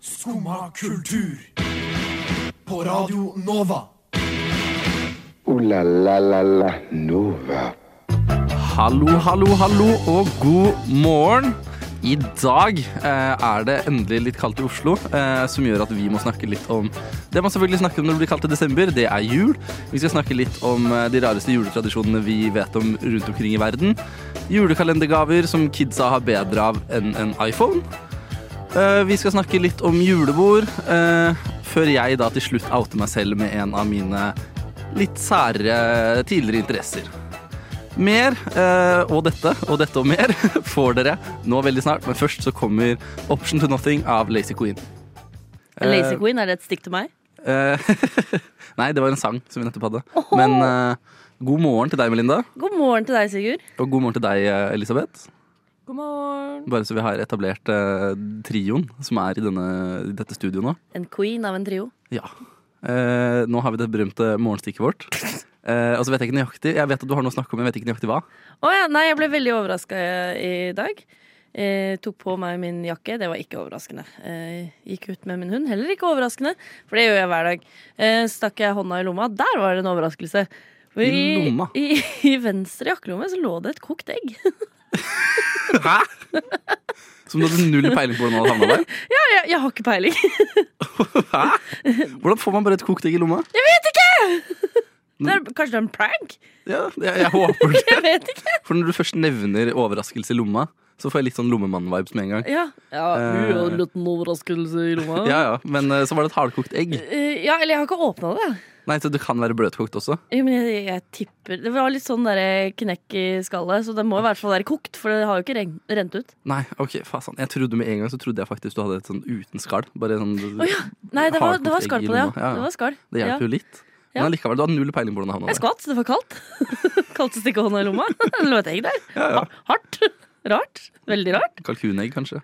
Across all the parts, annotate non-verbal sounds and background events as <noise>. Skumma kultur. På Radio Nova. Ooh la la la la Nova. Hallo, hallo, hallo og god morgen. I dag eh, er det endelig litt kaldt i Oslo, eh, som gjør at vi må snakke litt om Det man selvfølgelig snakker om når det blir kaldt i desember, det er jul. Vi skal snakke litt om eh, de rareste juletradisjonene vi vet om rundt omkring i verden. Julekalendergaver som kidsa har bedre av enn en iPhone. Eh, Vi skal snakke litt om julebord, eh, før jeg da til slutt outer meg selv med en av mine litt særere tidligere interesser. Mer eh, og dette og dette og mer <laughs> får dere nå veldig snart, men først så kommer Option to Nothing av Lazy Queen. Lazy Queen, er det et stikk til meg? Eh, <laughs> Nei, det var en sang som vi nettopp hadde. Men eh, god morgen til deg, Melinda, God morgen til deg, Sigurd. og god morgen til deg, eh, Elisabeth. God morgen. Bare så vi har etablert eh, trioen som er i, denne, i dette studioet nå. En queen av en trio. Ja. Eh, nå har vi det berømte morgenstikket vårt. Eh, og så vet jeg ikke nøyaktig Jeg vet at du har noe å snakke om, men jeg vet ikke nøyaktig hva. Å ja, nei, jeg ble veldig overraska i dag. Eh, tok på meg min jakke, det var ikke overraskende. Eh, gikk ut med min hund, heller ikke overraskende, for det gjør jeg hver dag. Eh, stakk jeg hånda i lomma, der var det en overraskelse. For I lomma? I, i venstre jakkelomme så lå det et kokt egg. <laughs> Hæ? <laughs> Som du hadde null peiling på hvordan det hadde havna der? Nei, jeg, jeg har ikke peiling. <laughs> Hæ? Hvordan får man bare et kokt egg i lomma? Det er, kanskje det er en prank? Ja, jeg, jeg håper det. Jeg vet ikke. For når du først nevner overraskelse i lomma, så får jeg litt sånn lommemann-vibes med en gang. Ja, ja Eh. en liten overraskelse i lomma. Ja, ja, Men eh, så var det et hardkokt egg. Eh, ja, eller jeg har ikke åpna det. Nei, så det kan være bløtkokt også. Jo, men jeg, jeg tipper Det var litt sånn der knekk i skallet, så det må i hvert fall være kokt, for det har jo ikke ren- rent ut. Nei, ok, fasan. Jeg trodde med en gang så trodde jeg faktisk du hadde et sånn uten skall. Bare sånn Nei, det var, hardkokt det var egg skall i på det, ja. lomma. Ja, ja. Det var skall. Det Ja. hjelper jo litt. Ja. Men allikevel, du hadde null peiling på hvordan det havna Jeg skvatt, det var kaldt. <laughs> kaldt å stikke hånda i lomma. <laughs> Det lå et egg der. Ja, ja. Ha- Hardt. <laughs> Rart. Veldig rart. Kalkunegg, kanskje?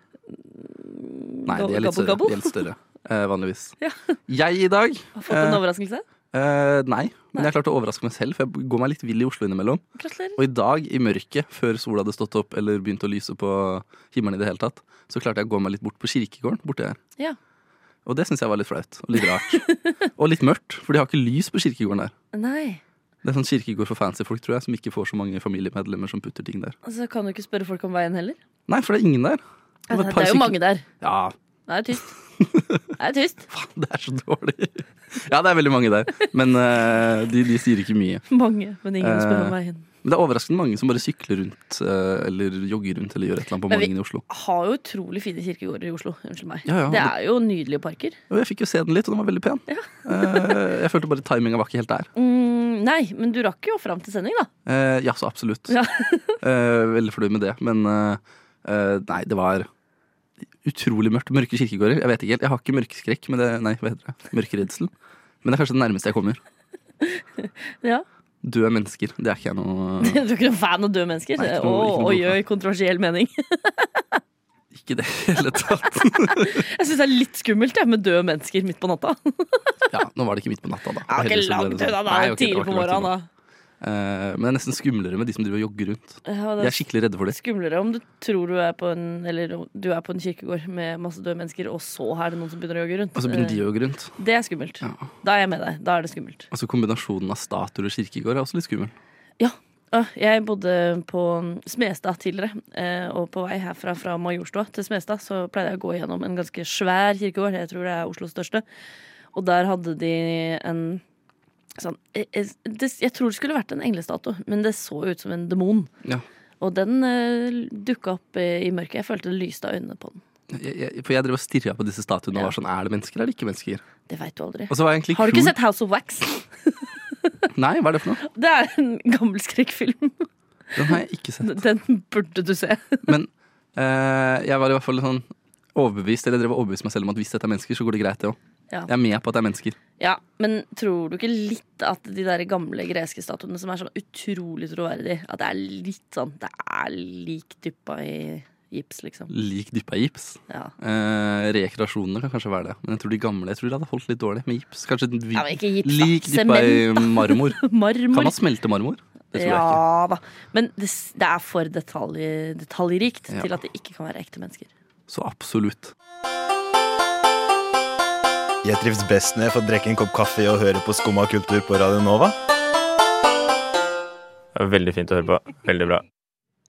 Nei, gab- de er litt større. gabbo-gabbo. De er litt større eh, vanligvis. Ja. Jeg i dag Har Fått en Eh. overraskelse. eh, Nei, men jeg klarte å overraske meg selv, for jeg går meg litt vill i Oslo innimellom. Gratulerer. Og i dag, i mørket, før sola hadde stått opp eller begynt å lyse på himmelen i det hele tatt, så klarte jeg å gå meg litt bort på kirkegården borti her. Ja. Og det syns jeg var litt flaut og litt rart. <laughs> og litt mørkt, for de har ikke lys på kirkegården der. Nei. Det er sånn kirkegård for fancy folk, tror jeg, som ikke får så mange familiemedlemmer som putter ting der. Altså, kan du ikke spørre folk om veien heller? Nei, for det er ingen der. Ja, var et par det, det er jo stykker- mange der. Ja, Det er jo tyst. <laughs> Det er tyst. faen, det er så dårlig. <laughs> ja, det er veldig mange der, men eh, de, de sier ikke mye. Mange, men ingen spør Eh. om veien. Men det er overraskende mange som bare sykler rundt eh, eller jogger rundt eller gjør et eller annet på Men vi- morgenen i Oslo. Har jo utrolig fine kirkegårder i Oslo. Unnskyld meg. Ja, ja, det men- er jo nydelige parker. Og jeg fikk jo se den litt, og den var veldig pen. Eh, jeg følte bare timinga var ikke helt der. Mm, nei, men du rakk jo fram til sending, da. Eh, ja, så absolutt. Ja. Eh, veldig fornøyd med det. Men eh, eh, nei, det var utrolig mørkt. Mørke kirkegårder. Jeg vet ikke helt, jeg har ikke mørkeskrekk, men det, nei, hva heter det? Mørkeredsel. Men det er kanskje det nærmeste jeg kommer. <laughs> Ja. Døde mennesker. Det er ikke jeg noe <laughs> Du er ikke noen fan av døde mennesker? Nei, ikke noe- Å, ikke noe oi, fan. oi, kontroversiell mening. <laughs> Ikke i det hele tatt. <laughs> Jeg syns det er litt skummelt jeg, med døde mennesker midt på natta. Det Ja, nå var det ikke midt på natta, da. er ikke Heldigvis ble det sånn. langt unna, da. Nei, ok, det var Tidlig ikke på langt unna. morgenen, da. Eh, men det er nesten skumlere med de som driver og jogger rundt. Ja, Jeg det er skikkelig redd for er det. skumlere om du tror du er på en Eller om du er på en kirkegård med masse døde mennesker, og så er det noen som begynner å jogge rundt. Og så begynner de å jogge rundt. Eh, Det er skummelt. Ja. Da er jeg med deg. Da er det skummelt. Og så kombinasjonen av statuer og kirkegård er også litt skummel. Ah, Jeg bodde på mm, Smestad tidligere, eh, og på vei herfra fra Majorstua til Smestad så pleide jeg å gå gjennom en ganske svær kirkegård, jeg tror det er Oslos største. Og der hadde de en sånn eh, eh, det- Jeg tror det skulle vært en englestatue, men det så ut som en demon. Ja. Og den uh, dukka opp eh, i mørket. Jeg følte det lyste av øynene på den. Jeg, jeg, for jeg drev og stirra på disse statuene og Ja. var sånn, er det mennesker eller ikke mennesker? Det veit du aldri. Og så var jeg egentlig Har kul- du ikke sett House of Wax? <laughs> Nei, hva er det for noe? Det er en gammel skrekkfilm. Den har jeg ikke sett. <laughs> Den burde du se. Men eh, jeg var i hvert fall sånn overbevist, eller jeg drev og overbeviste meg selv om at hvis dette er mennesker, så går det greit, det òg. Ja. Jeg er med på at det er mennesker. Ja, Men tror du ikke litt at de der gamle greske statuene som er så utrolig troverdige, at det er litt sånn Det er lik dyppa i gips, liksom. Lik dyppa i gips. Ja. <laughs> Eh, rekreasjonene kan kanskje være det, men jeg tror de gamle jeg tror de hadde holdt litt dårlig med gips. Kanskje den vi, ja men ikke gips, da. lik dyppa i Sement. marmor. Kan Marmor. man smelte marmor? Det tror jeg ikke. Ja da. Men det, s- det er for detalj, detaljrikt Ja. til at det ikke kan være ekte mennesker. Så absolutt. Jeg trives best når jeg får drikke en kopp kaffe og høre på Skumma kultur på Radio Nova. Det er Veldig fint å høre på. Veldig bra.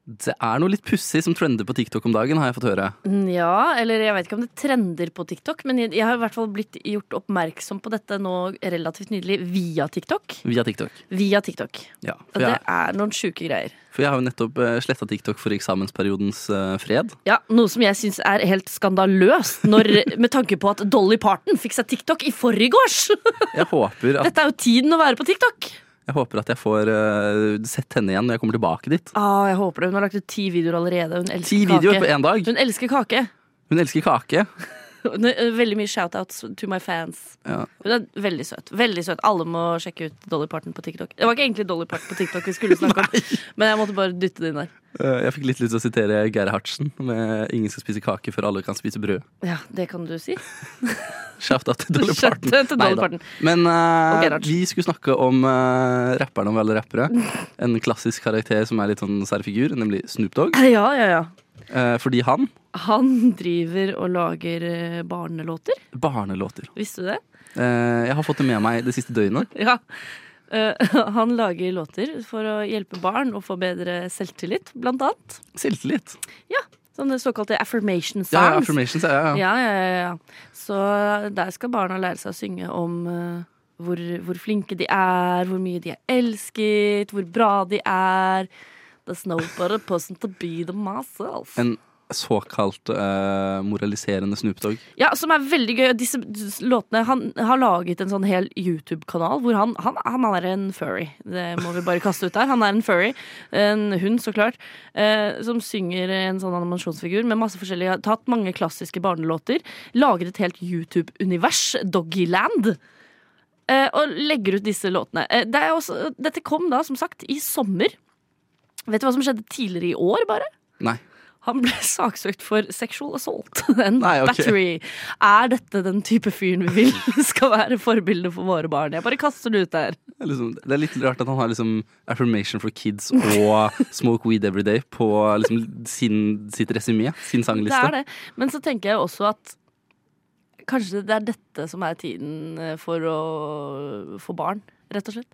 Det er noe litt pussig som trender på TikTok om dagen, har jeg fått høre. Mm, Ja, eller jeg vet ikke om det trender på TikTok, men jeg, jeg har i hvert fall blitt gjort oppmerksom på dette nå relativt nydelig via TikTok. Via TikTok. Via TikTok. Ja, Og for, det jeg, er noen sjuke greier. for jeg har jo nettopp sletta TikTok for eksamensperiodens eh, fred. Ja, Noe som jeg syns er helt skandaløst, når, <laughs> med tanke på at Dolly Parton fikk seg TikTok i forgårs! <laughs> Jeg håper at Dette er jo tiden å være på TikTok! jeg, håper at jeg får eh, sett henne igjen når jeg kommer tilbake dit. Ah, jeg håper det. Hun har lagt ut ti videoer allerede. Hun elsker Ti videoer på kake. én dag. Hun elsker kake. Hun elsker kake. Hun er- eh, Veldig mye shoutouts to my fans. Ja. Hun er veldig søt. veldig søt Alle må sjekke ut Dolly Parton på TikTok. Det var ikke egentlig Dolly Parton på TikTok vi skulle <laughs> snakke om, men jeg måtte bare dytte det inn der. Eh, Jeg fikk litt lyst til å sitere Geir Hartsen med 'Ingen skal spise kake før alle kan spise brød'. Ja, det kan du si. Shout out til Dolly Shout Parton. out til Dolly Neida. Parton. Men eh, Og Gerhardsen. vi skulle snakke om eh, rapperne om vi alle <laughs> rappere. En klassisk karakter som er litt sånn sær figur, nemlig Snoop Dogg. <laughs> Ja, ja, ja. Eh, fordi han Han driver og lager eh, barnelåter. barnelåter. Visste du det? Eh, jeg har fått det med meg det siste døgnet. <laughs> Ja. Eh, <laughs> han lager låter for å hjelpe barn å få bedre selvtillit, blant annet. Selvtillit. Sånne såkalte affirmation songs. Ja, affirmations. Ja, ja. Ja, ja, ja, ja. Så der skal barna lære seg å synge om eh, hvor, hvor flinke de er, hvor mye de er elsket, hvor bra de er. There's no better person to be than myself. En såkalt eh, moraliserende Snoop Dogg. Ja, som er veldig gøy. og Disse låtene Han har laget en sånn hel YouTube-kanal hvor han, han, han er en furry. Det må vi bare kaste ut der. Han er en furry. En hund, så klart. Eh, som synger en sånn animasjonsfigur med masse forskjellige Har tatt mange klassiske barnelåter. Laget et helt YouTube-univers. Doggyland. Eh, og legger ut disse låtene. Eh, det er også, dette kom da, som sagt, i sommer. Vet du hva som skjedde tidligere i år, bare? Nei. Han ble <laughs> saksøkt for sexual assault <laughs> and Nei, ok. battery. Er dette den type fyren vi vil <laughs> skal være forbilde for våre barn? Jeg bare kaster det ut der. Det er Liksom, det er litt rart at han har liksom affirmation for kids <laughs> og smoke weed every day på liksom sin, sitt resymé, sin Det sangliste. er det. Men så tenker jeg også at kanskje det er dette som er tiden eh, for å få barn, rett og slett.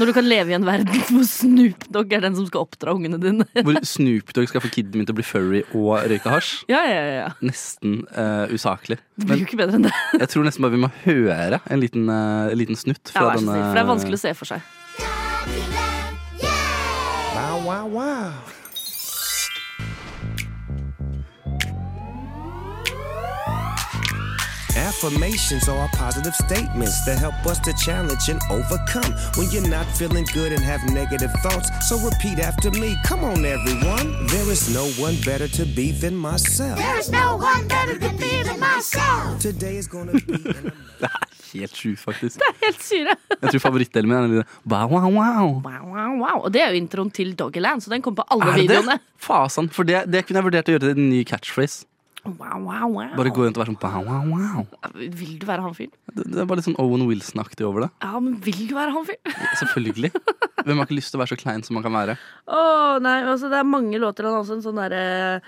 Når du kan leve i en verden <laughs> hvor Snoop Dogg er den som skal oppdra ungene dine. <laughs> Hvor Snoop Dogg skal få kiden min til å bli furry og røyke hasj. Ja, ja, ja, ja. Nesten eh, usaklig. Det blir jo ikke bedre enn det. <laughs> Jeg tror nesten bare vi må høre en liten, eh, en liten snutt Ja, fra vær så denne snill, for det er vanskelig å se for seg. Affirmations are positive statements that help us to challenge and overcome when you're not feeling good and have negative thoughts. So repeat after me. Come on, everyone. There is no one better to be than myself. There is no one better than me than myself. Today is gonna be an Helt sjukt, faktisk. Helt syre. Jeg tror favorittdelen min er den lille wow, wow, wow. Wow, wow, wow. Og det er jo introen til Doggyland, så den kommer på alle Er det videoene. det? Fasan. For det, det kunne jeg vurdert å gjøre til en ny catchphrase. Wow, wow, wow. Bare gå rundt og være sånn wow, wow, wow. Vil du være han fyren? Det, det er bare litt sånn Owen Wilson-aktig over det. Ja, men vil du være han fyren? <laughs> Selvfølgelig. Hvem har ikke lyst til å være så klein som man kan være? Å nei, altså det er mange låter han har også en sånn derre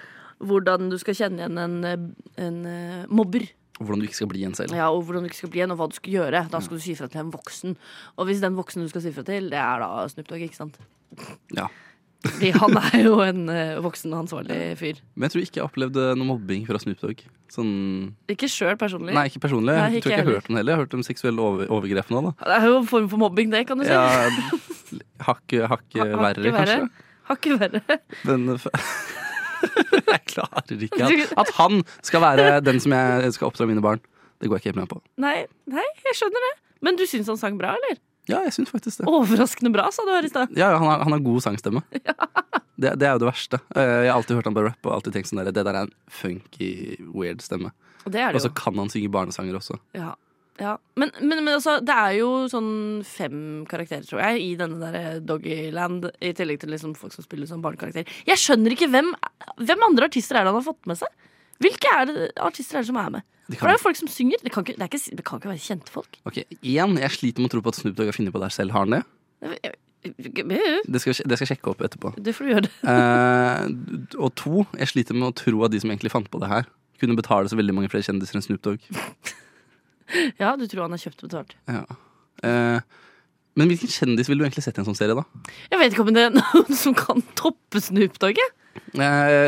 hvordan du skal kjenne igjen en, eh, en eh, mobber. Og hvordan du ikke skal bli en selv. Ja, Og hvordan du ikke skal bli en, og hva du skal gjøre. Da skal du si fra til en voksen. Og hvis den voksne du skal si fra til, det er da Snoop Dogg, ikke sant? Ja. <laughs> Fordi han er jo en eh, voksen, ansvarlig fyr. Men jeg tror ikke jeg opplevde noe mobbing fra Snoop Dogg. Sånn Ikke sjøl personlig. Nei, ikke personlig. Nei, jeg ikke tror ikke jeg har heller. hørt om det heller. Jeg har hørt om seksuelle over overgrep nå, da. Det er jo en form for mobbing, det, kan du si. Ja, <laughs> hakket hakket Hakket verre, kanskje. Hakket verre. <laughs> Men f- <laughs> jeg klarer ikke at, at han skal være den som jeg skal oppdra mine barn. Det går jeg ikke helt med på. Nei, nei, jeg skjønner det. Men du syns han sang bra, eller? Ja, jeg syns faktisk det. Overraskende bra, sa du her i stad. Ja, ja, han, har, han har god <laughs> sangstemme. Det, det er jo det verste. Eh, Jeg har alltid hørt han bare rappe og alltid tenkt sånn der, det der er en funky, weird stemme. Og det er Og det så jo. kan han synge barnesanger også. Ja. Ja. Men, men, men altså, det er jo sånn fem karakterer, tror jeg, i denne der eh, Doggyland. I tillegg til liksom folk som spiller som barnekarakter. Jeg skjønner ikke hvem, hvem andre artister er det han har fått med seg? Hvilke er det artister er det som er med? De For det kan, er jo folk som synger. Det kan ikke, det er ikke, det kan ikke være kjente folk. ok, Igjen, jeg sliter med å tro på at Snoop Dogg har funnet på det her selv. Har han det? Det skal, jeg- det skal jeg sjekke opp etterpå. Det får du gjøre. <laughs> det Eh, og to, jeg sliter med å tro at de som egentlig fant på det her, kunne betale så veldig mange flere kjendiser enn Snoop Dogg. Ja, du tror han er kjøpt betalt. Ja. Eh, men hvilken kjendis ville du egentlig sett i en sånn serie, da? Jeg vet ikke om det er noen som kan toppe Snoop Dogg. jeg. Eh,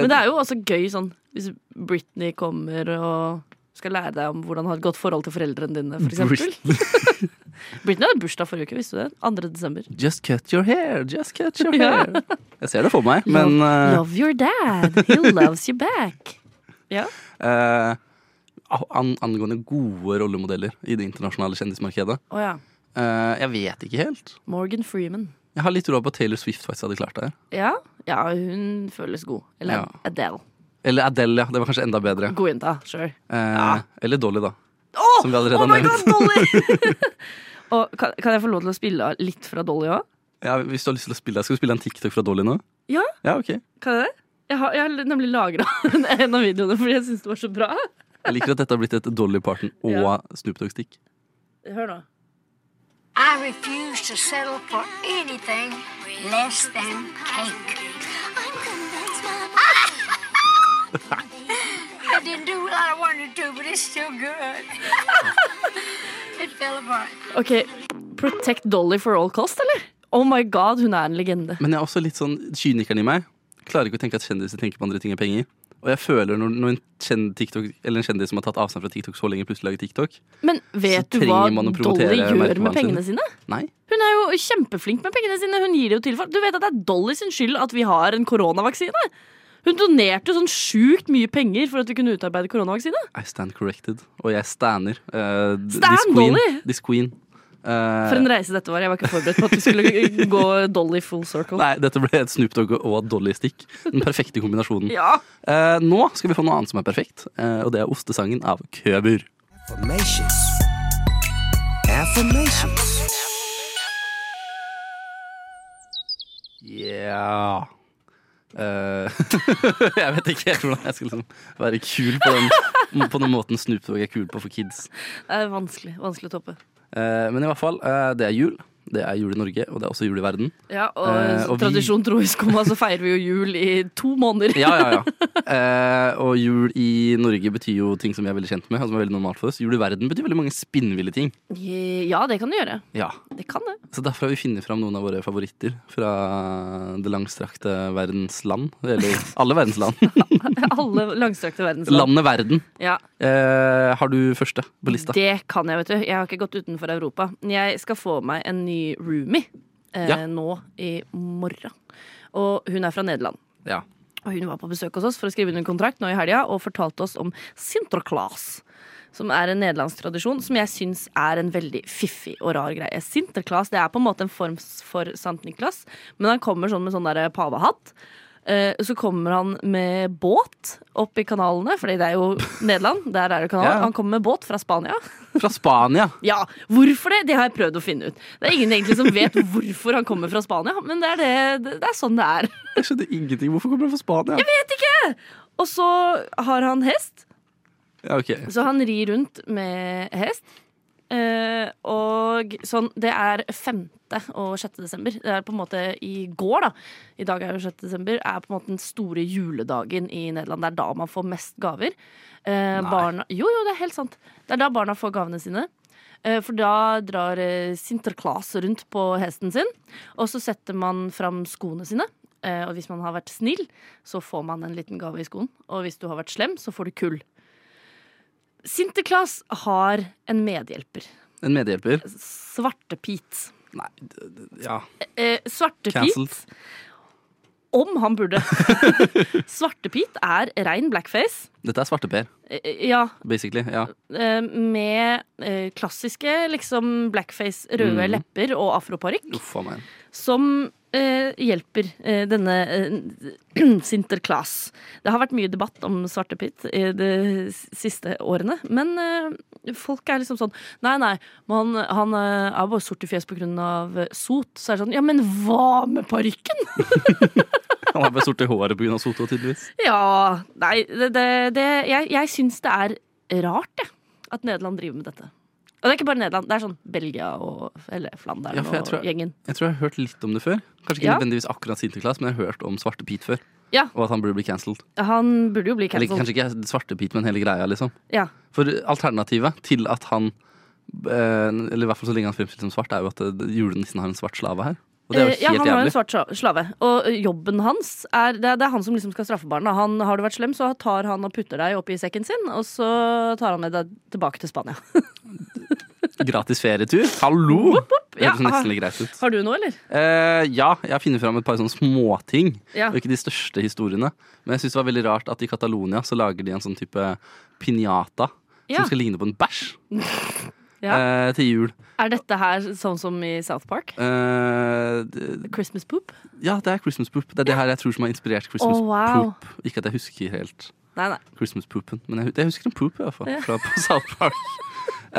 Men det er jo også gøy sånn hvis Britney kommer og skal lære deg om hvordan ha et godt forhold til foreldrene dine, for eksempel. <laughs> Britney hadde bursdag forrige uke, visste du det? 2. desember. Just cut your hair, just cut <laughs> your Ja. hair. Jeg ser det for meg, men love, eh, love your dad. He loves you back. Ja. eh, an, angående gode rollemodeller i det internasjonale kjendismarkedet Å ja. eh, Jeg vet ikke helt. Morgan Freeman. Jeg har litt troa på at Taylor Swift faktisk hadde klart det her. Ja. ja, hun føles god. Eller Ja. Adele. Eller Adele, ja. Det var kanskje enda bedre. God jenta, sure. Eh, Eller Dolly, da. Åh, Som vi allerede oh har my nevnt. god, Dolly! <laughs> og kan, kan jeg få lov til å spille av litt fra Dolly òg? Ja, hvis du har lyst til å spille, Skal du spille en TikTok fra Dolly nå? Ja. Ja, ok. Kan jeg det? Jeg har, jeg har nemlig lagra en <laughs> en av videoene fordi jeg syns det var så bra. Jeg liker at dette har blitt et Dolly Parton og Ja. Snoop Dogg-stikk. Hør nå. I refuse to settle for anything less than cake. I'm convinced <laughs> I didn't do what I wanted to, but it's still good. <laughs> it fell apart. OK. Protect Dolly for all cost, eller? Oh my god, hun er en legende. Men jeg er også litt sånn kynikeren i meg. Klarer ikke å tenke at kjendiser tenker på andre ting enn penger. Og jeg føler når, når en, kjend TikTok, eller en kjendis som har tatt avstand fra TikTok så lenge, plutselig lager TikTok Men vet Så du hva trenger man å Dolly promotere gjør med merkevaren sin. pengene sine? Nei. Hun er jo kjempeflink med pengene sine. Hun gir det jo til folk. Du vet at det er Dolly sin skyld at vi har en koronavaksine. Hun donerte jo sånn sjukt mye penger for at vi kunne utarbeide koronavaksine. I stand corrected. Og jeg stander. eh, d- Stan this queen, Dolly! This queen. Eh, For en reise dette var. Jeg var ikke forberedt på at vi skulle <laughs> gå Dolly full circle. Nei, dette ble et Snoop Dogg og Dolly-stikk. Den perfekte kombinasjonen. <laughs> Ja. Eh, nå skal vi få noe annet som er perfekt, eh, og det er ostesangen av Køber. Affirmations. Affirmations. Yeah. Eh, <laughs> jeg vet ikke helt hvordan jeg skal liksom være kul på den, på den måten Snoop Dogg er kul på for kids. Det er vanskelig, vanskelig å toppe. Eh, men i hvert fall, eh, det er jul. Det er jul i Norge, og det er også jul i verden. Ja, og, Eh, og vi- tradisjon tro i skumma så feirer vi jo jul i to måneder. Ja, ja, ja. Eh, og jul i Norge betyr jo ting som vi er veldig kjent med. Og som er veldig normalt for oss Jul i verden betyr veldig mange spinnville ting. Ja, det kan du gjøre. Ja Det kan det. <laughs> Så derfor har vi funnet fram noen av våre favoritter fra det langstrakte verdens land. Eller alle verdens land. Alle langstrakte verdensland. Landet verden. Ja, Eh, har du første på lista? Det kan jeg, vet du. Jeg har ikke gått utenfor Europa. Jeg skal få meg en ny roomie eh, Ja. nå i morgen. Og hun er fra Nederland. Ja. Og hun var på besøk hos oss for å skrive under kontrakt nå i helga og fortalte oss om Sinterklaas. Som er en nederlandsk tradisjon som jeg syns er en veldig fiffig og rar greie. Sinterklaas det er på en måte en form for Sankt Niklas, men han kommer sånn med sånn der pavehatt. Eh, Så kommer han med båt opp i kanalene, Fordi det er jo Nederland. Der er det kanaler. Ja. Han kommer med båt fra Spania. Fra Spania. Ja, Hvorfor det? Det har jeg prøvd å finne ut. Det er ingen egentlig som vet hvorfor han kommer fra Spania, men det er, det, det er sånn det er. Jeg skjønner ingenting. Hvorfor kommer han fra Spania? Og så har han hest, Ja, ok. så han rir rundt med hest. Eh, og sånn, det er 5. og 6. desember. Det er på en måte i går, da. I dag er jo 6. desember. Er på en måte den store juledagen i Nederland. Det er da man får mest gaver. Eh, barna, jo, jo, det er helt sant. Det er da barna får gavene sine. Eh, For da drar eh, Sinterklaas rundt på hesten sin, og så setter man fram skoene sine. Eh, Og hvis man har vært snill, så får man en liten gave i skoen. Og hvis du har vært slem, så får du kull. Sinterklaas har en medhjelper. En medhjelper. Svartepit. Nei, d- d- ja. Eh, Svartepit Cancelled. om han burde. <laughs> Svartepit er rein blackface. Dette er svarteper, Eh, Ja, basically. Ja. eh, med eh, klassiske liksom blackface, røde lepper og afroparykk. Uff a meg. som eh, hjelper eh, denne eh, <clears throat> Sinterklaas. Det har vært mye debatt om svartepitt i de s- siste årene, men eh, folk er liksom sånn Nei, nei, men han, han eh, er bare sort i fjes på grunn av eh, sot. Så er det sånn Ja, men hva med parykken? Han har bare sort i håret pga. Soto, tydeligvis. <laughs> Ja, nei, det, det, det Jeg, jeg syns det er rart, jeg, at Nederland driver med dette. Og det er ikke bare Nederland, det er sånn Belgia og eller Flandern Ja, for jeg og tror- gjengen. Jeg tror jeg har hørt litt om det før. Kanskje ikke Ja. nødvendigvis akkurat Sinterklaas, men jeg har hørt om Svarte Pete før. Ja. Og at han burde bli cancelled. Han burde jo bli Eller cancelled. kanskje ikke Svarte Pete, men hele greia, liksom. Ja. For alternativet til at han eh, Eller i hvert fall så lenge han fremstilles som svart, er jo at eh, julenissen har en svart slave her. Og det er jo Eh, ja, helt han har en jævlig. svart sla- slave. Og eh, jobben hans er det, er- det er han som liksom skal straffe barna. Han, har du vært slem, så tar han og putter deg opp i sekken sin, og så tar han med deg tilbake til Spania. Gratis ferietur. Hallo! Det ja. høres nesten litt greit ut. <laughs> Har du noe, eller? Eh, ja, jeg finner fram et par sånne småting. Ja. Og ikke de største historiene. Men jeg synes det var veldig rart at i Catalonia så lager de en sånn type piñata Ja. som skal ligne på en bæsj <laughs> Ja. eh, til jul. Er dette her sånn som i South Park? Eh, det- Christmas poop? ja, det er Christmas poop. Det er det her jeg tror som har inspirert Christmas Å, wow. poop. Ikke at jeg husker helt Nei, nei. Christmas poopen, men jeg, hu- jeg husker en poop i hvert fall. Fra på <laughs> South Park.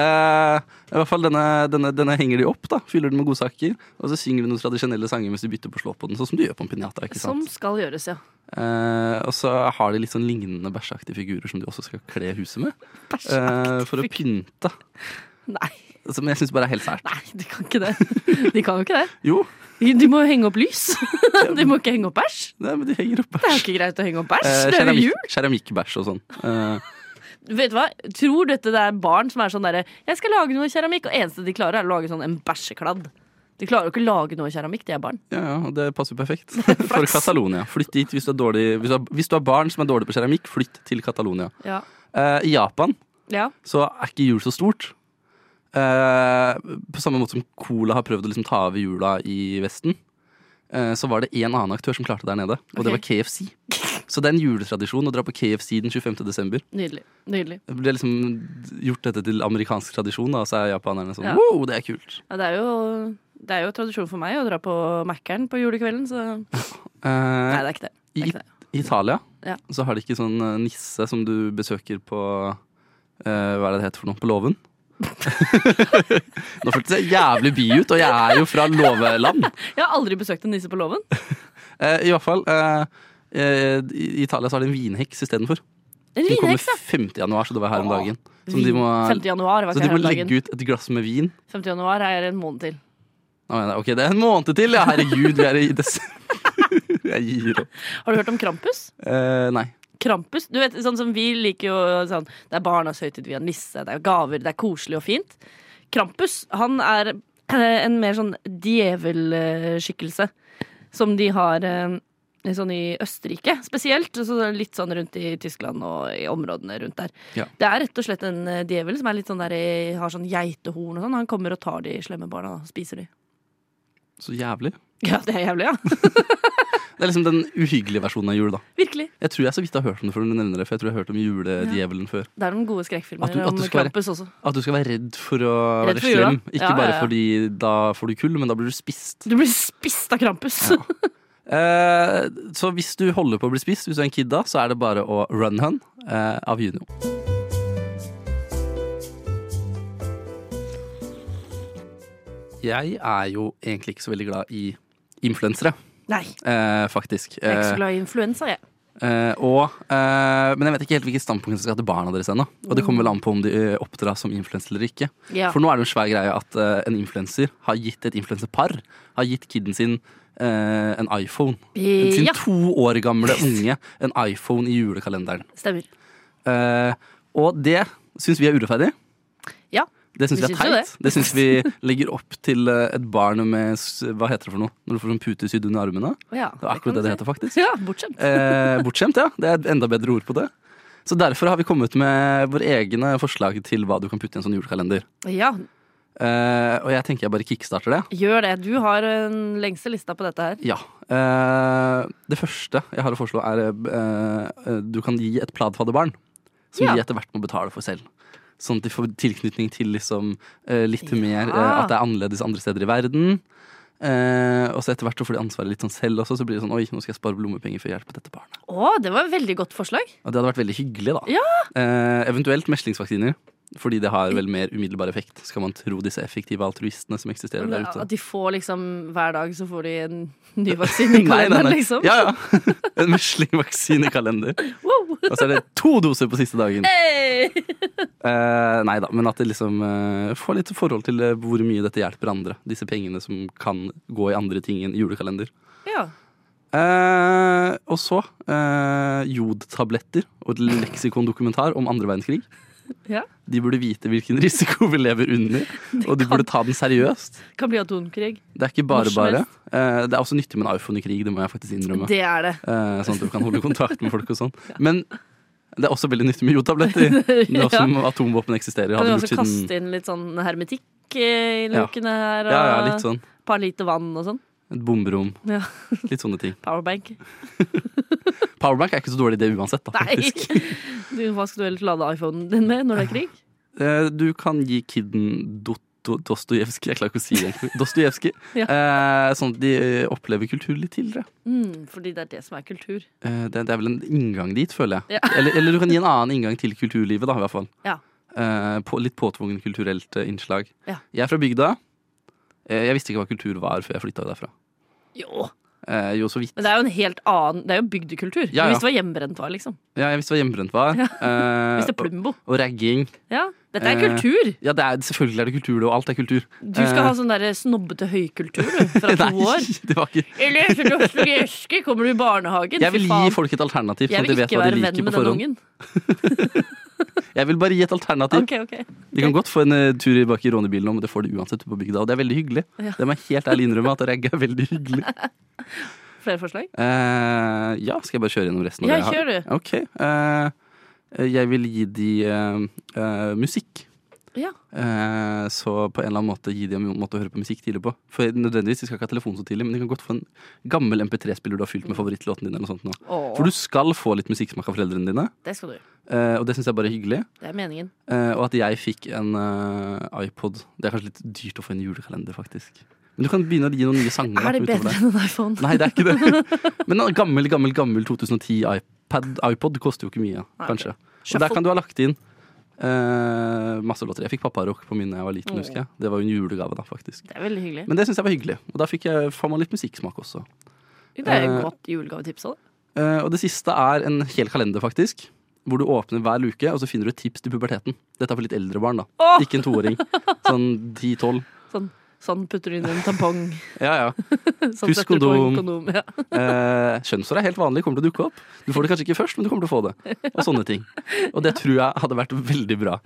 Eh, I hvert fall denne, denne, denne henger de opp, da fyller den med godsaker. Og så synger de noen tradisjonelle sanger mens de bytter på slå på den. Sånn som du gjør på en piñata. ikke sant? Som skal gjøres, ja. Eh, og så har de litt sånn lignende bæsjeaktige figurer som de også skal kle huset med. eh, for å pynte. <laughs> Nei, Som jeg syns bare er helt sært. nei, de kan ikke det. De kan jo ikke det. Jo, De må jo henge opp <laughs> lys. De må ikke henge opp bæsj. nei, men de henger opp Det er jo bæsj. ikke greit å henge opp bæsj. Eh, Det er jo jul. keramikk- Keramikkbæsj og sånn. Eh, Vet du hva? Tror dette det er barn som er sånn derre Jeg skal lage noe keramikk, og eneste de klarer, er å lage sånn en bæsjekladd. De klarer jo ikke å lage noe keramikk, de er barn. ja, ja, og det passer jo <laughs> perfekt. For Catalonia. Flytt dit hvis du, er dårlig, hvis, du har, hvis du har barn som er dårlig på keramikk, flytt til Catalonia. Ja. Eh, I Japan ja. så er ikke jul så stort. Eh, på samme måte som Cola har prøvd å liksom ta over jula i Vesten, eh, så var det en annen aktør som klarte det der nede, og det Ok. var KFC. Så det er en juletradisjon å dra på KFC den 25. desember. Nydelig. Nydelig. Det ble liksom gjort dette til amerikansk tradisjon, da, og så er japanerne sånn Ja. wow, det er kult. Ja, det er jo det er jo tradisjon for meg å dra på Mækkern på julekvelden, så Nei, Eh, det er ikke det. det, er ikke det. I Italia Ja. så har de ikke sånn eh, nisse som du besøker på eh, Hva er det det heter for noe? På <laughs> låven? <laughs> Nå føltes jeg jævlig by ut, og jeg er jo fra låveland. Jeg har aldri besøkt en nisse på låven. Eh, I hvert fall, eh, eh, i i Italia så har de en vinheks istedenfor. En Den kommer vinheks, da. 5. januar, så det var her om Åh, dagen. Som de må, 5. januar var så ikke de her må om dagen. legge ut et glass med vin. 5. januar er en måned til. Nå mener jeg, ok, Det er en måned til! Ja, herregud, vi er i desember. <laughs> Jeg gir opp. Har du hørt om Krampus? Eh, nei. Krampus. Du vet, sånn som vi liker jo sånn Det er barnas høytid, vi har nisse, det er gaver, det er koselig og fint. Krampus, han er eh, en mer sånn djevelskikkelse som de har eh, Sånn i Østerrike spesielt, og så litt sånn rundt i Tyskland og i områdene rundt der. Ja. Det er rett og slett en eh, djevel som er litt sånn der, eh, har sånn geitehorn og sånn. Han kommer og tar de slemme barna og spiser de. Så jævlig. Ja, det er jævlig, ja. <laughs> Det er liksom den uhyggelige versjonen av jul, da. Virkelig. Jeg tror jeg så vidt har hørt om det før du nevner det, for jeg tror jeg har hørt om juledjevelen før. Det er noen gode At du- skrekkfilmer at om du skal være- Krampus også. At du skal være redd for å Redd være for jula. slem. Ikke Ja, bare ja, ja. fordi da får du kull, men da blir du spist. Du blir spist av Krampus. Eh, så hvis du holder på å bli spist, hvis du er en kid da, så er det bare å run hun eh, av Junio. Jeg er jo egentlig ikke så veldig glad i influensere, <laughs> Nei. eh, faktisk. Jeg er ikke Eh, så glad i influensa, jeg. Eh, og, eh, men jeg vet ikke helt hvilket standpunkt jeg skal ha til barna deres ennå. Og det kommer vel an på om de eh, oppdras som influensere eller ikke. Ja. For nå er det jo en svær greie at eh, en influenser har gitt et influenserpar har gitt kiden sin eh, en iPhone. Sin Ja, to år gamle unge en iPhone i julekalenderen. stemmer. Eh, og det syns vi er urettferdig. Ja. Det syns vi Vi er syns jo teit. Det, syns vi legger opp til eh, et barn med s- Hva heter det for noe? Når du får sånn pute sydd under armene? ja Det er akkurat det det heter, faktisk. Ja, bortskjemt. Eh, bortskjemt, ja. Det er et enda bedre ord på det. Så derfor har vi kommet med våre egne forslag til hva du kan putte i en sånn julekalender. Ja, Eh, og jeg tenker jeg bare kickstarter det. gjør det. Du har den lengste lista på dette her. Ja. Eh, det første jeg har å foreslå, er eh, eh, du kan gi et pladfadderbarn. Som Ja. de etter hvert må betale for selv. Sånn at de får tilknytning til liksom, eh, litt Ja. mer eh, at det er annerledes andre steder i verden. Eh, og så etter hvert så får de ansvaret litt sånn selv også. Så blir det sånn oi, nå skal jeg spare lommepenger for å hjelpe dette barnet. Å, det var et veldig godt forslag. Og det hadde vært veldig hyggelig, da. Ja! Eh, eventuelt meslingsvaksiner. Fordi det har vel mer umiddelbar effekt, skal man tro disse effektive altruistene som eksisterer der ute. At de får liksom hver dag så får de <laughs> en ny vaksine i kalenderen, liksom. Ja, ja. <laughs> En meslingvaksinekalender. Wow. Og så er det to doser på siste dagen. Hey! Eh, nei da, men at det liksom eh, får litt forhold til eh, hvor mye dette hjelper andre. Disse pengene som kan gå i andre ting enn julekalender. Ja. Eh, og så eh, jodtabletter og et leksikondokumentar om andre verdenskrig. Ja. De burde vite hvilken <laughs> risiko vi lever under, og de burde ta den seriøst. Kan bli atomkrig. Det er ikke Når bare som bare. helst. Eh, Det er også nyttig med en iPhone i krig, det må jeg faktisk innrømme. Det er det. Eh, Sånn at du <laughs> kan holde kontakt med folk og sånn. Men det er også veldig nyttig med <laughs> jodtabletter. Nå som atomvåpen eksisterer. Kan du Hadde også gjort siden kaste inn litt sånn hermetikk eh, i lukene her? Og ja, ja, litt sånn. par liter vann og sånn. Et bomberom. Ja. Litt sånne ting. Powerbank. Powerbank er ikke så dårlig idé uansett, da, Nei! faktisk. <laughs> Du, hva skal du ellers lade iPhonen din med når det er <sighs> krig? Eh, Du kan gi kidden dot Dostojevskij, jeg klarer ikke å si det <laughs> egentlig. Dostojevskij. Ja. Eh, sånn at de eh, opplever kultur litt tidligere. Mm, fordi det er det som er kultur. Eh, det, det er vel en inngang dit, føler jeg. Ja. <laughs> Eller, eller du kan gi en annen inngang til kulturlivet, da, i hvert fall. Ja. Eh, på, litt påtvungen kulturelt eh, innslag. Ja. Jeg er fra bygda. Eh, jeg visste ikke hva kultur var før jeg flytta derfra. Jo, Eh, jo, så vidt. men det er jo en helt annen Det er jo bygdekultur. Ja, ja. Hvis det var hjemmebrent var, liksom. Ja, jeg visste hva hjemmebrent <laughs> var. eh, Hvis det er Plumbo. og, og ragging. Ja, dette er Eh, kultur! Ja, det er, selvfølgelig er det kultur, det, og alt er kultur. Du eh, skal ha sånn der snobbete høykultur du, <laughs> fra to år. det var ikke I løse dostojevskij kommer du i barnehagen. Jeg Fy vil gi faen. folk et alternativ. sånn Jeg at de vil vet ikke hva de være venn liker med på den forhånd. ungen. Jeg vil bare gi et alternativ. Ok, ok De kan godt få en eh, tur i bak i rånebilen, men det får de uansett på bygda. Og det er veldig hyggelig. Ja. Det må jeg helt ærlig innrømme at ragg er veldig hyggelig. Flere forslag? Eh, ja, skal jeg bare kjøre gjennom resten? av Ja, det jeg har? kjør du. Ok. eh, jeg vil gi de eh, eh, musikk. Ja. Eh, så på en eller annen måte gi de en måte å høre på musikk tidlig på. For nødvendigvis, De skal ikke ha telefon så tidlig, men de kan godt få en gammel MP3-spiller du har fylt med favorittlåten din. Eller noe sånt nå. Åh, For du skal få litt musikksmak av foreldrene dine, Det skal du. eh, og det syns jeg bare er hyggelig. Det er meningen. Eh, og at jeg fikk en eh, iPod. Det er kanskje litt dyrt å få en julekalender, faktisk. Men du kan begynne å gi noen nye sanger. da, Er det utover bedre enn en iPhone? Nei, det er ikke det. <laughs> Men en gammel, gammel, gammel 2010 iPad, iPod koster jo ikke mye, Nei, kanskje. Og Shuffle. der kan du ha lagt inn eh, masse låter. Jeg fikk papparock på min da jeg var Mm. liten, husker jeg. Det var jo en julegave, da, faktisk. Det er veldig hyggelig. Men det syns jeg var hyggelig. Og da fikk jeg, får man litt musikksmak også. Det er et eh, godt julegavetips òg. Eh, og det siste er en hel kalender, faktisk. Hvor du åpner hver luke, og så finner du et tips til puberteten. Dette er for litt eldre barn, da. Åh! Ikke en toåring. Sånn 10-12. Sånn, sånn putter du inn en tampong. <laughs> Ja, ja. Sånn Husk setter du på kondom. en kondom, ja. Eh, kjønnsår er helt vanlig, kommer til å dukke opp. Du får det kanskje ikke først, men du kommer til å få det. Og sånne ting. Og det tror jeg hadde vært veldig bra.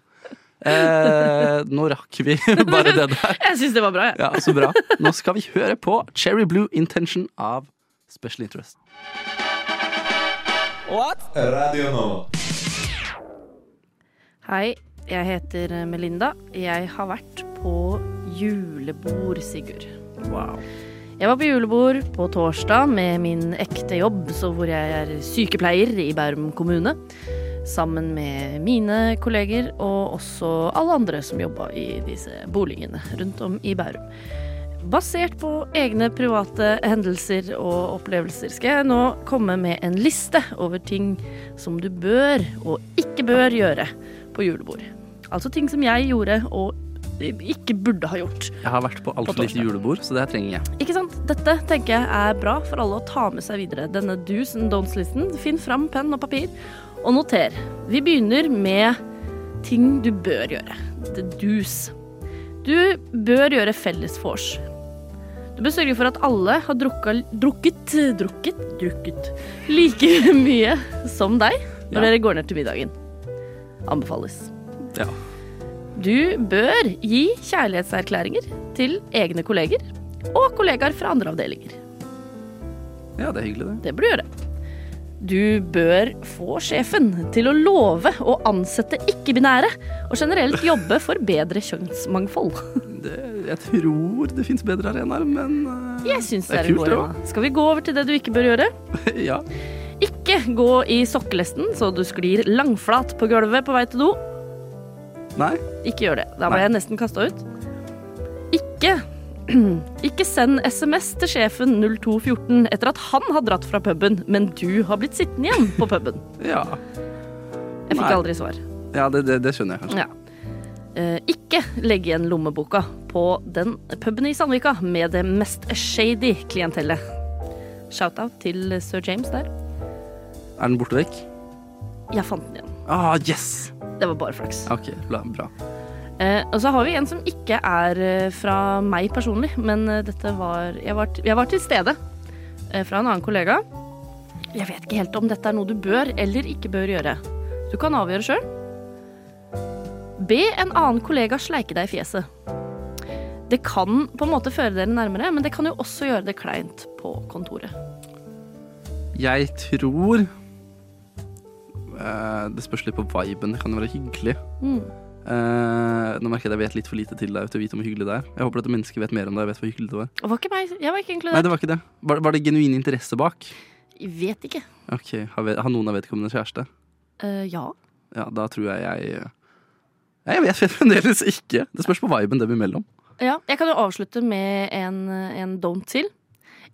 Eh, nå rakk vi <laughs> bare det der. Jeg syns det var bra, jeg. Ja, så bra. Nå skal vi høre på Cherry Blue Intention av Special Interest. Hei, jeg heter Melinda. Jeg har vært på julebord, Sigurd. Wow. Jeg var på julebord på torsdag med min ekte jobb, så hvor jeg er sykepleier i Bærum kommune. Sammen med mine kolleger og også alle andre som jobba i disse boligene rundt om i Bærum. Basert på egne private hendelser og opplevelser skal jeg nå komme med en liste over ting som du bør og ikke bør gjøre på julebord. Altså ting som jeg gjorde og ikke burde ha gjort. Jeg har vært på altfor lite julebord, så det her trenger jeg. Ikke sant? Dette tenker jeg er bra for alle å ta med seg videre. Denne do's and don'ts-listen. Finn fram penn og papir og noter. Vi begynner med ting du bør gjøre. The do's. Du bør gjøre felles vors. Du bør sørge for at alle har drukka, drukket drukket drukket like <laughs> mye som deg når Ja. dere går ned til middagen. Anbefales. Ja. Du bør gi kjærlighetserklæringer til egne kolleger og kollegaer fra andre avdelinger. ja, det er hyggelig, det. Det bør du gjøre. Du bør få sjefen til å love å ansette ikke-binære og generelt jobbe for bedre kjønnsmangfold. det jeg tror det fins bedre arenaer, men eh, Jeg syns Det det er er en kult, god det idé. Skal vi gå over til det du ikke bør gjøre? ja. Ikke gå i sokkelesten så du sklir langflat på gulvet på vei til do. Nei. Ikke gjør det. Nei. Da ble jeg nesten kasta ut. Ikke <clears throat> Ikke send SMS til sjefen 0214 etter at han har dratt fra puben, men du har blitt sittende igjen på puben. Ja, Jeg fikk Nei. aldri svar. ja det, det, det skjønner jeg kanskje. Ja. Eh, ikke legge igjen lommeboka på den puben i Sandvika med det mest shady klientellet. Shout-out til sir James der. Er den borte vekk? Jeg fant den igjen. Ah, yes! Det var bare flaks. Ok, bra. bra. Eh, og så har vi en som ikke er eh, fra meg personlig, men eh, dette var Jeg var, t- jeg var til stede eh, fra en annen kollega. Jeg vet ikke helt om dette er noe du bør eller ikke bør gjøre. Du kan avgjøre sjøl. Be en annen kollega sleike deg i fjeset. Det kan på en måte føre dere nærmere, men det kan jo også gjøre det kleint på kontoret. Jeg tror eh, Det spørs litt på viben. Det kan jo være hyggelig. Eh, nå merker jeg at jeg vet litt for lite til deg til å vite om hvor hyggelig det er. Jeg håper dette mennesket vet mer enn deg vet hvor hyggelig det var. Og var ikke meg, jeg var ikke Nei, inkludert. det var ikke det. Var, var det genuin interesse bak? Jeg Vet ikke. Ok, Har, ved, har noen av vedkommende kjæreste? Eh, ja. Ja, da tror jeg jeg Nei, Jeg vet <laughs> fremdeles ikke. Det spørs på viben dem imellom. ja. Jeg kan jo avslutte med en, en don't til.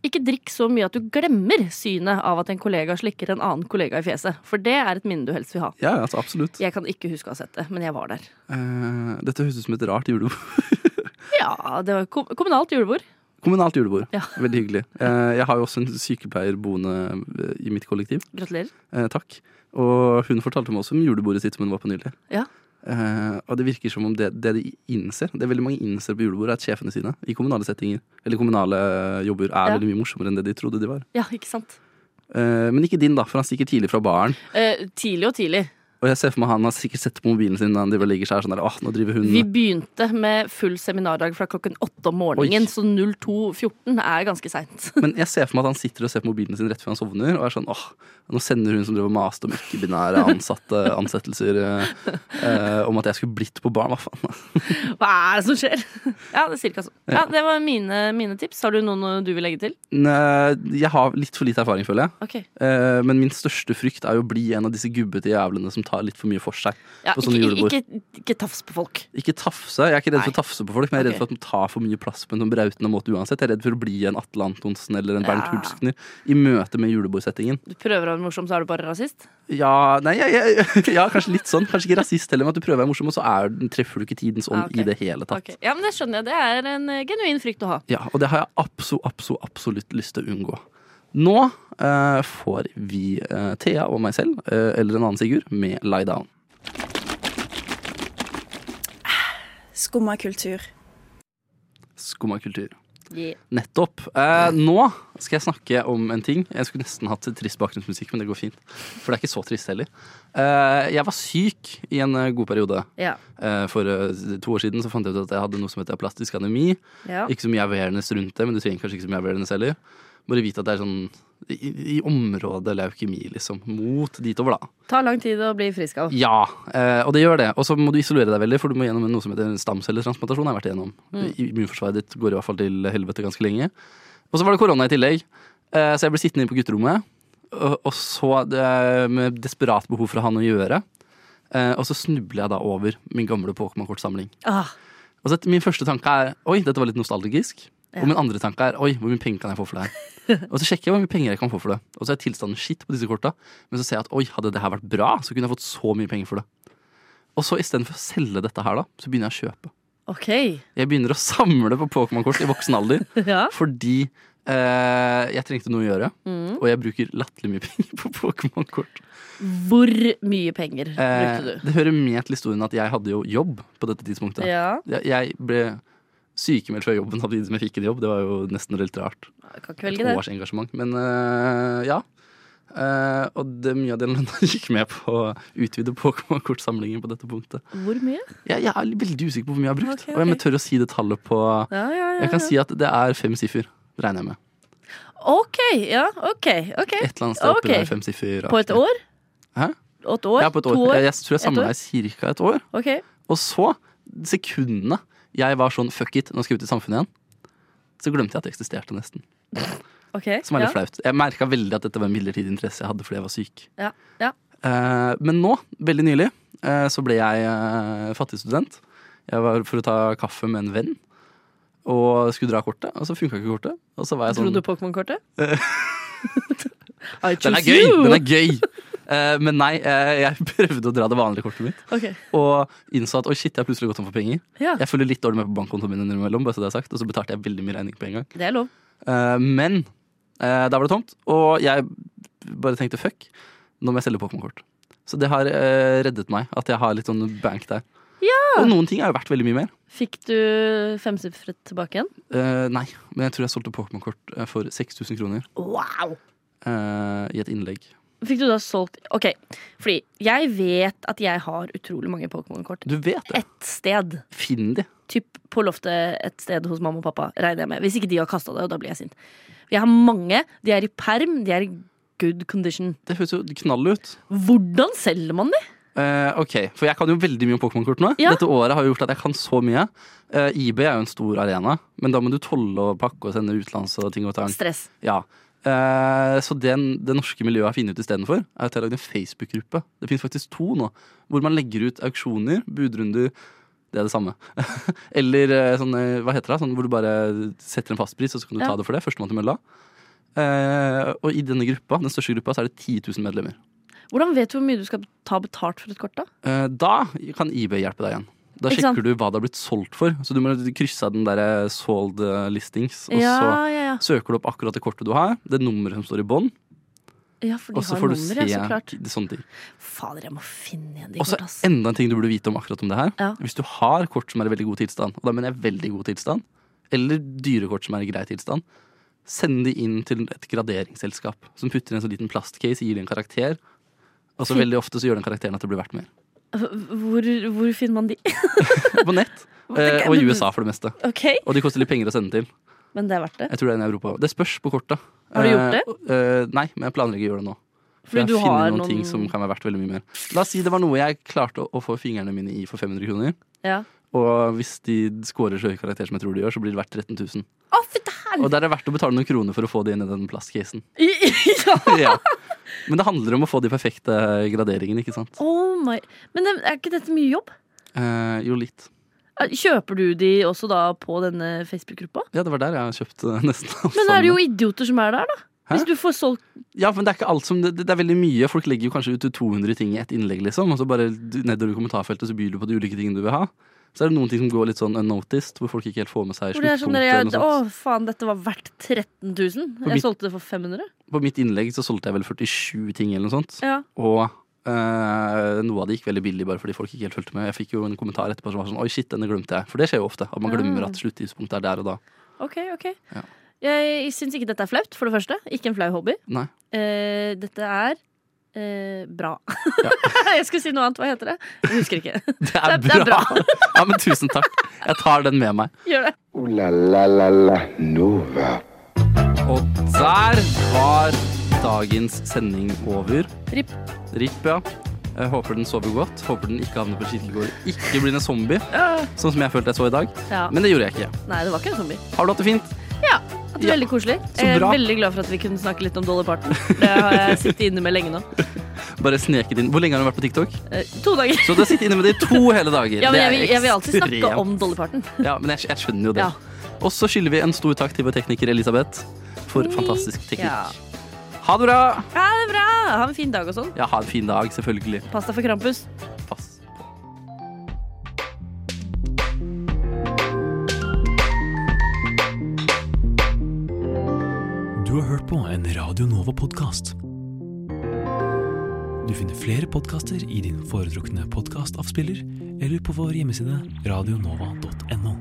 Ikke drikk så mye at du glemmer synet av at en kollega slikker en annen kollega i fjeset. For det er et minne du helst vil ha. Ja, altså, absolutt. Jeg kan ikke huske å ha sett det, men jeg var der. Eh, dette høres ut som et rart julebord. <laughs> Ja, det var kom kommunalt julebord. Kommunalt julebord. Ja. Veldig hyggelig. Eh, jeg har jo også en sykepleier boende eh, i mitt kollektiv. Gratulerer. Eh, takk. Og hun fortalte meg også om julebordet sitt som hun var på nylig. Ja. Eh, og det virker som om det, det de innser, det veldig mange innser på julebordet, er at sjefene sine i kommunale settinger eller kommunale jobber er Ja. veldig mye morsommere enn det de trodde de var. Ja, ikke sant. Eh, men ikke din, da, for han stikker tidlig fra baren. Eh, tidlig og tidlig. Og jeg ser for meg han har sikkert sett på mobilen sin når han driver og legger seg her sånn der, åh, nå driver hun Vi begynte med full seminardag fra klokken åtte om morgenen, Oi. så 02.14 er ganske seint. <laughs> Men jeg ser for meg at han sitter og ser på mobilen sin rett før han sovner, og er sånn åh, nå sender hun som drev og maste om ikke-binære ansatte ansettelser eh, eh, om at jeg skulle blitt på barn, hva faen. Hva er det som skjer? Ja, det er cirka sånn. Ja, det var mine, mine tips. Har du noen du vil legge til? Nei, eh, jeg har litt for lite erfaring, føler jeg. Ok. Eh, men min største frykt er jo å bli en av disse gubbete jævlene som tar litt for mye for seg. Ja, På sånne ikke, julebord. ikke, ikke tafs på folk. Ikke tafse. Jeg er ikke redd for Nei. å tafse på folk, men jeg er Ok. redd for at de tar for mye plass på en sånn brautende måte uansett. Jeg er redd for å bli en Atle Antonsen eller en Bernt Ja. Hulskner i møte med julebordsettingen. Du prøver å være morsom, så er du bare rasist. Ja, nei, jeg, jeg, <laughs> ja, kanskje litt sånn. Kanskje ikke rasist heller, men at du prøver å være morsom, og så er, treffer du ikke tidens ånd Ah, ok. i det hele tatt. Ok. Ja, men Det skjønner jeg. Det er en eh, genuin frykt å ha. Ja, og det har jeg abso, abso, absolutt lyst til å unngå. Nå eh, får vi eh, Thea og meg selv, eh, eller en annen Sigurd, med Lie Down. Skumma kultur. Skumma kultur. Yeah. Nettopp. Eh, nå skal jeg snakke om en ting. Jeg skulle nesten hatt trist bakgrunnsmusikk, men det går fint. For det er ikke så trist heller. Eh, jeg var syk i en eh, god periode. Ja. Eh, for eh, to år siden så fant jeg ut at jeg hadde noe som heter plastisk anemi. ja. Ikke så mye awareness rundt det, men du trenger kanskje ikke så mye awareness heller. Bare vite at det er sånn i, i området leukemi, liksom. Mot dit over, da. Tar lang tid å bli frisk av. Ja, eh, og det gjør det. Og så må du isolere deg veldig, for du må gjennom noe som heter en stamcelletransplantasjon. har jeg vært igjennom. Immunforsvaret ditt går i hvert fall til helvete ganske lenge. Og så var det korona i tillegg, eh, så jeg ble sittende inne på gutterommet. Og, og så eh, med desperat behov for å ha noe å gjøre. Eh, og så snubler jeg da over min gamle Pokémon-kortsamling. Ah, Og så at Min første tanke er oi, dette var litt nostalgisk. Og min andre tanke er oi, hvor mye penger kan jeg få for det her? <laughs> og så sjekker jeg hvor mye penger jeg kan få for det. Og så er tilstanden shit på disse korta. Men så ser jeg at oi, hadde det her vært bra, så kunne jeg fått så mye penger for det. Og så istedenfor å selge dette her, da, så begynner jeg å kjøpe. OK. <laughs> Jeg begynner å <laughs> samle på Pokémon-kort i voksen alder Ja. fordi eh, jeg trengte noe å gjøre. Mm. Og jeg bruker latterlig mye penger på Pokémon-kort. Hvor mye penger Eh, brukte du? det hører med til historien at jeg hadde jo jobb på dette tidspunktet. Ja, Jeg, jeg ble sykemeldt fra jobben samtidig som jeg fikk en jobb. Det var jo nesten litt rart. jeg kan ikke Et velge det. års engasjement. Men øh, ja. Eh, og det, mye av den lønna <laughs> gikk med på å utvide Pokémon-kortsamlingen på dette punktet. Hvor mye? Jeg, jeg er veldig usikker på hvor mye jeg har brukt. Ok, ok. Og jeg må tørre å si det tallet på Ja, ja, ja. Jeg kan si at det er fem siffer, regner jeg med. OK, ja, OK. ok Et eller annet sted oppi Ok. der. Fem siffer. På et år? Hæ? Åtte år? Ja, på et år. To år? Jeg, jeg tror jeg Et år? samla i ca. et år. Ok. Og så, sekundene jeg var sånn fuck it, nå skal jeg ut i samfunnet igjen, så glemte jeg at det eksisterte, nesten. ok Som er litt ja. flaut. Jeg merka veldig at dette var en midlertidig interesse jeg hadde fordi jeg var syk. Ja, ja. Eh, men nå, veldig nylig, eh, så ble jeg eh, fattig student. Jeg var for å ta kaffe med en venn. Og skulle dra kortet, og så funka ikke kortet. Og så var jeg Tror sånn du <laughs> Pokémon-kortet? I Den choose er gøy! you! Den er gøy! Eh, men nei, eh, jeg <laughs> prøvde å dra det vanlige kortet mitt. Ok, Og innså at oi, shit, jeg har plutselig gått tom for penger. Ja, Jeg følger litt dårlig med på bankkontoen min innimellom, bare så det er sagt. Og så betalte jeg veldig mye regning på en gang. det er lov. Eh, men eh, da var det tomt, og jeg bare tenkte fuck, nå må jeg selge Pokémon-kort. Så det har eh, reddet meg, at jeg har litt sånn bank der. Og noen ting er jo verdt veldig mye mer. Fikk du femsifret tilbake igjen? Eh, nei, men jeg tror jeg solgte Pokémon-kort eh, for 6000 kroner Wow! eh, i et innlegg. Fikk du da solgt Ok, fordi jeg vet at jeg har utrolig mange Pokémon-kort. Du vet det. Ett sted. Finn de. Typ på loftet et sted hos mamma og pappa, regner jeg med. Hvis ikke de har kasta det, og da blir jeg sint. Jeg har mange. De er i perm. De er i good condition. Det høres jo knall ut. Hvordan selger man de? Eh, ok, For jeg kan jo veldig mye om Pokémon-kort nå. Ja. Dette året har jo gjort at jeg kan så mye. Eh, IB er jo en stor arena, men da må du tolle og pakke og sende utenlands og ting og tang. Stress. Ja. Eh, så den, det norske miljøet har funnet ut istedenfor, er at jeg har lagd en Facebook-gruppe. Det finnes faktisk to nå, hvor man legger ut auksjoner, budrunder Det er det samme. <laughs> Eller eh, sånne, hva heter det, sånn hvor du bare setter en fastpris, og så kan du Ja. ta det for det. Førstemann til mølla. Eh, og i denne gruppa, den største gruppa, så er det 10 000 medlemmer. Hvordan vet du hvor mye du skal ta betalt for et kort, da? Eh, Da kan eBay hjelpe deg igjen. Da Ikke sant? sjekker du hva det har blitt solgt for. Så du må krysse av den der sold eh, listings. Og ja, ja, ja. så søker du opp akkurat det kortet du har, det nummeret som står i bånn. ja, for Og de så har får du nummer, se ja, så klart. sånne ting. Fader, jeg må finne igjen de Og så korta. ass. enda en ting du burde vite om akkurat om det her. Ja. Hvis du har kort som er i veldig god tilstand, og da mener jeg veldig god tilstand, eller dyrekort som er i grei tilstand, send de inn til et graderingsselskap som putter i en sånn liten plastcase, gir de en karakter. Og så Fy- veldig ofte så gjør den karakteren at det blir verdt <laughs> mer. Hvor, hvor finner man de? <laughs> På nett. eh, og i Men- USA for det meste. Ok, Og de koster litt penger å sende til. Men det er verdt det. Jeg tror det er en i Europa. Det spørs på kortet. Har du gjort det? Eh, eh, nei, men jeg planlegger å gjøre det nå. For Fordi jeg du finner har noen, noen ting som kan være verdt veldig mye mer. La oss si det var noe jeg klarte å, å få fingrene mine i for 500 kroner. ja. Og hvis de scorer så høy karakter som jeg tror de gjør, så blir det verdt 13 000. Å, fytti Og der er det verdt å betale noen kroner for å få de inn i den plastcasen. <laughs> helvete! Ja. ja. Men det handler om å få de perfekte graderingene, ikke sant? Oh my. Men det- er ikke dette mye jobb? Eh, Eh, jo, litt. Kjøper du de også da på denne Facebook-gruppa? Ja, det var der jeg har kjøpt eh, <laughs> nesten alt Men da er det sammen. jo idioter som er der, da. Hvis du får solgt Ja, men det er ikke alt som, det, det er veldig mye. Folk legger jo kanskje ut 200 ting i ett innlegg, liksom. Og så bare du- nedover i kommentarfeltet så byr du på de ulike tingene du vil ha. Så er det noen ting som går litt sånn unnoticed, hvor folk ikke helt får med seg hvor det er sånn der, sluttpunktet. eller noe Å, sånt. faen, dette var verdt 13 000. På Jeg mitt- solgte det for 500. På mitt innlegg så solgte jeg vel 47 ting eller noe sånt. Ja. Og eh, noe av det gikk veldig billig bare fordi folk ikke helt fulgte med. Jeg fikk jo en kommentar etterpå som var sånn Oi, shit, denne glemte jeg. For det skjer jo ofte. At man Ja. glemmer at sluttidspunktet er der og da. Ok, ok. Ja. Jeg syns ikke dette er flaut, for det første. Ikke en flau hobby. Nei. Eh, dette er eh, bra. <laughs> jeg skulle si noe annet. Hva heter det? Jeg husker ikke. <laughs> Det er, <laughs> Det er- det er bra. <laughs> ja, men tusen takk. Jeg tar den med meg. Gjør det. Ooh la la la la Nova. Og der var dagens sending over. Ripp. Ripp, ja. Jeg håper den sover godt. Håper den ikke havner på skittelgård. Ikke blir en <laughs> zombie, sånn som jeg følte jeg så i dag. Ja. Men det gjorde jeg ikke. Nei, det var ikke en zombie. Har du hatt det fint? At det er Ja. Veldig koselig. Så Jeg er bra. veldig glad for at vi kunne snakke litt om Dolly Parton. Det har jeg sittet inne med lenge nå. Bare sneket inn. Hvor lenge har du vært på TikTok? Eh, to dager. Så du har sittet inne med det i to hele dager. Ja, men Det jeg, er vil, jeg vil alltid snakke ekstremt. om Dolly Parton. Ja, men jeg, jeg skjønner jo det. Ja. Og så skylder vi en stor takk til vår tekniker Elisabeth for fantastisk teknikk. Ja. Ha det bra! Ja, det er bra! Ha en fin dag og sånn. Ja, ha en fin dag, selvfølgelig. Pass deg for Krampus. Pass på. Du har hørt på en Radio Nova-podkast. Du finner flere podkaster i din foretrukne podkastavspiller eller på vår hjemmeside radionova.no.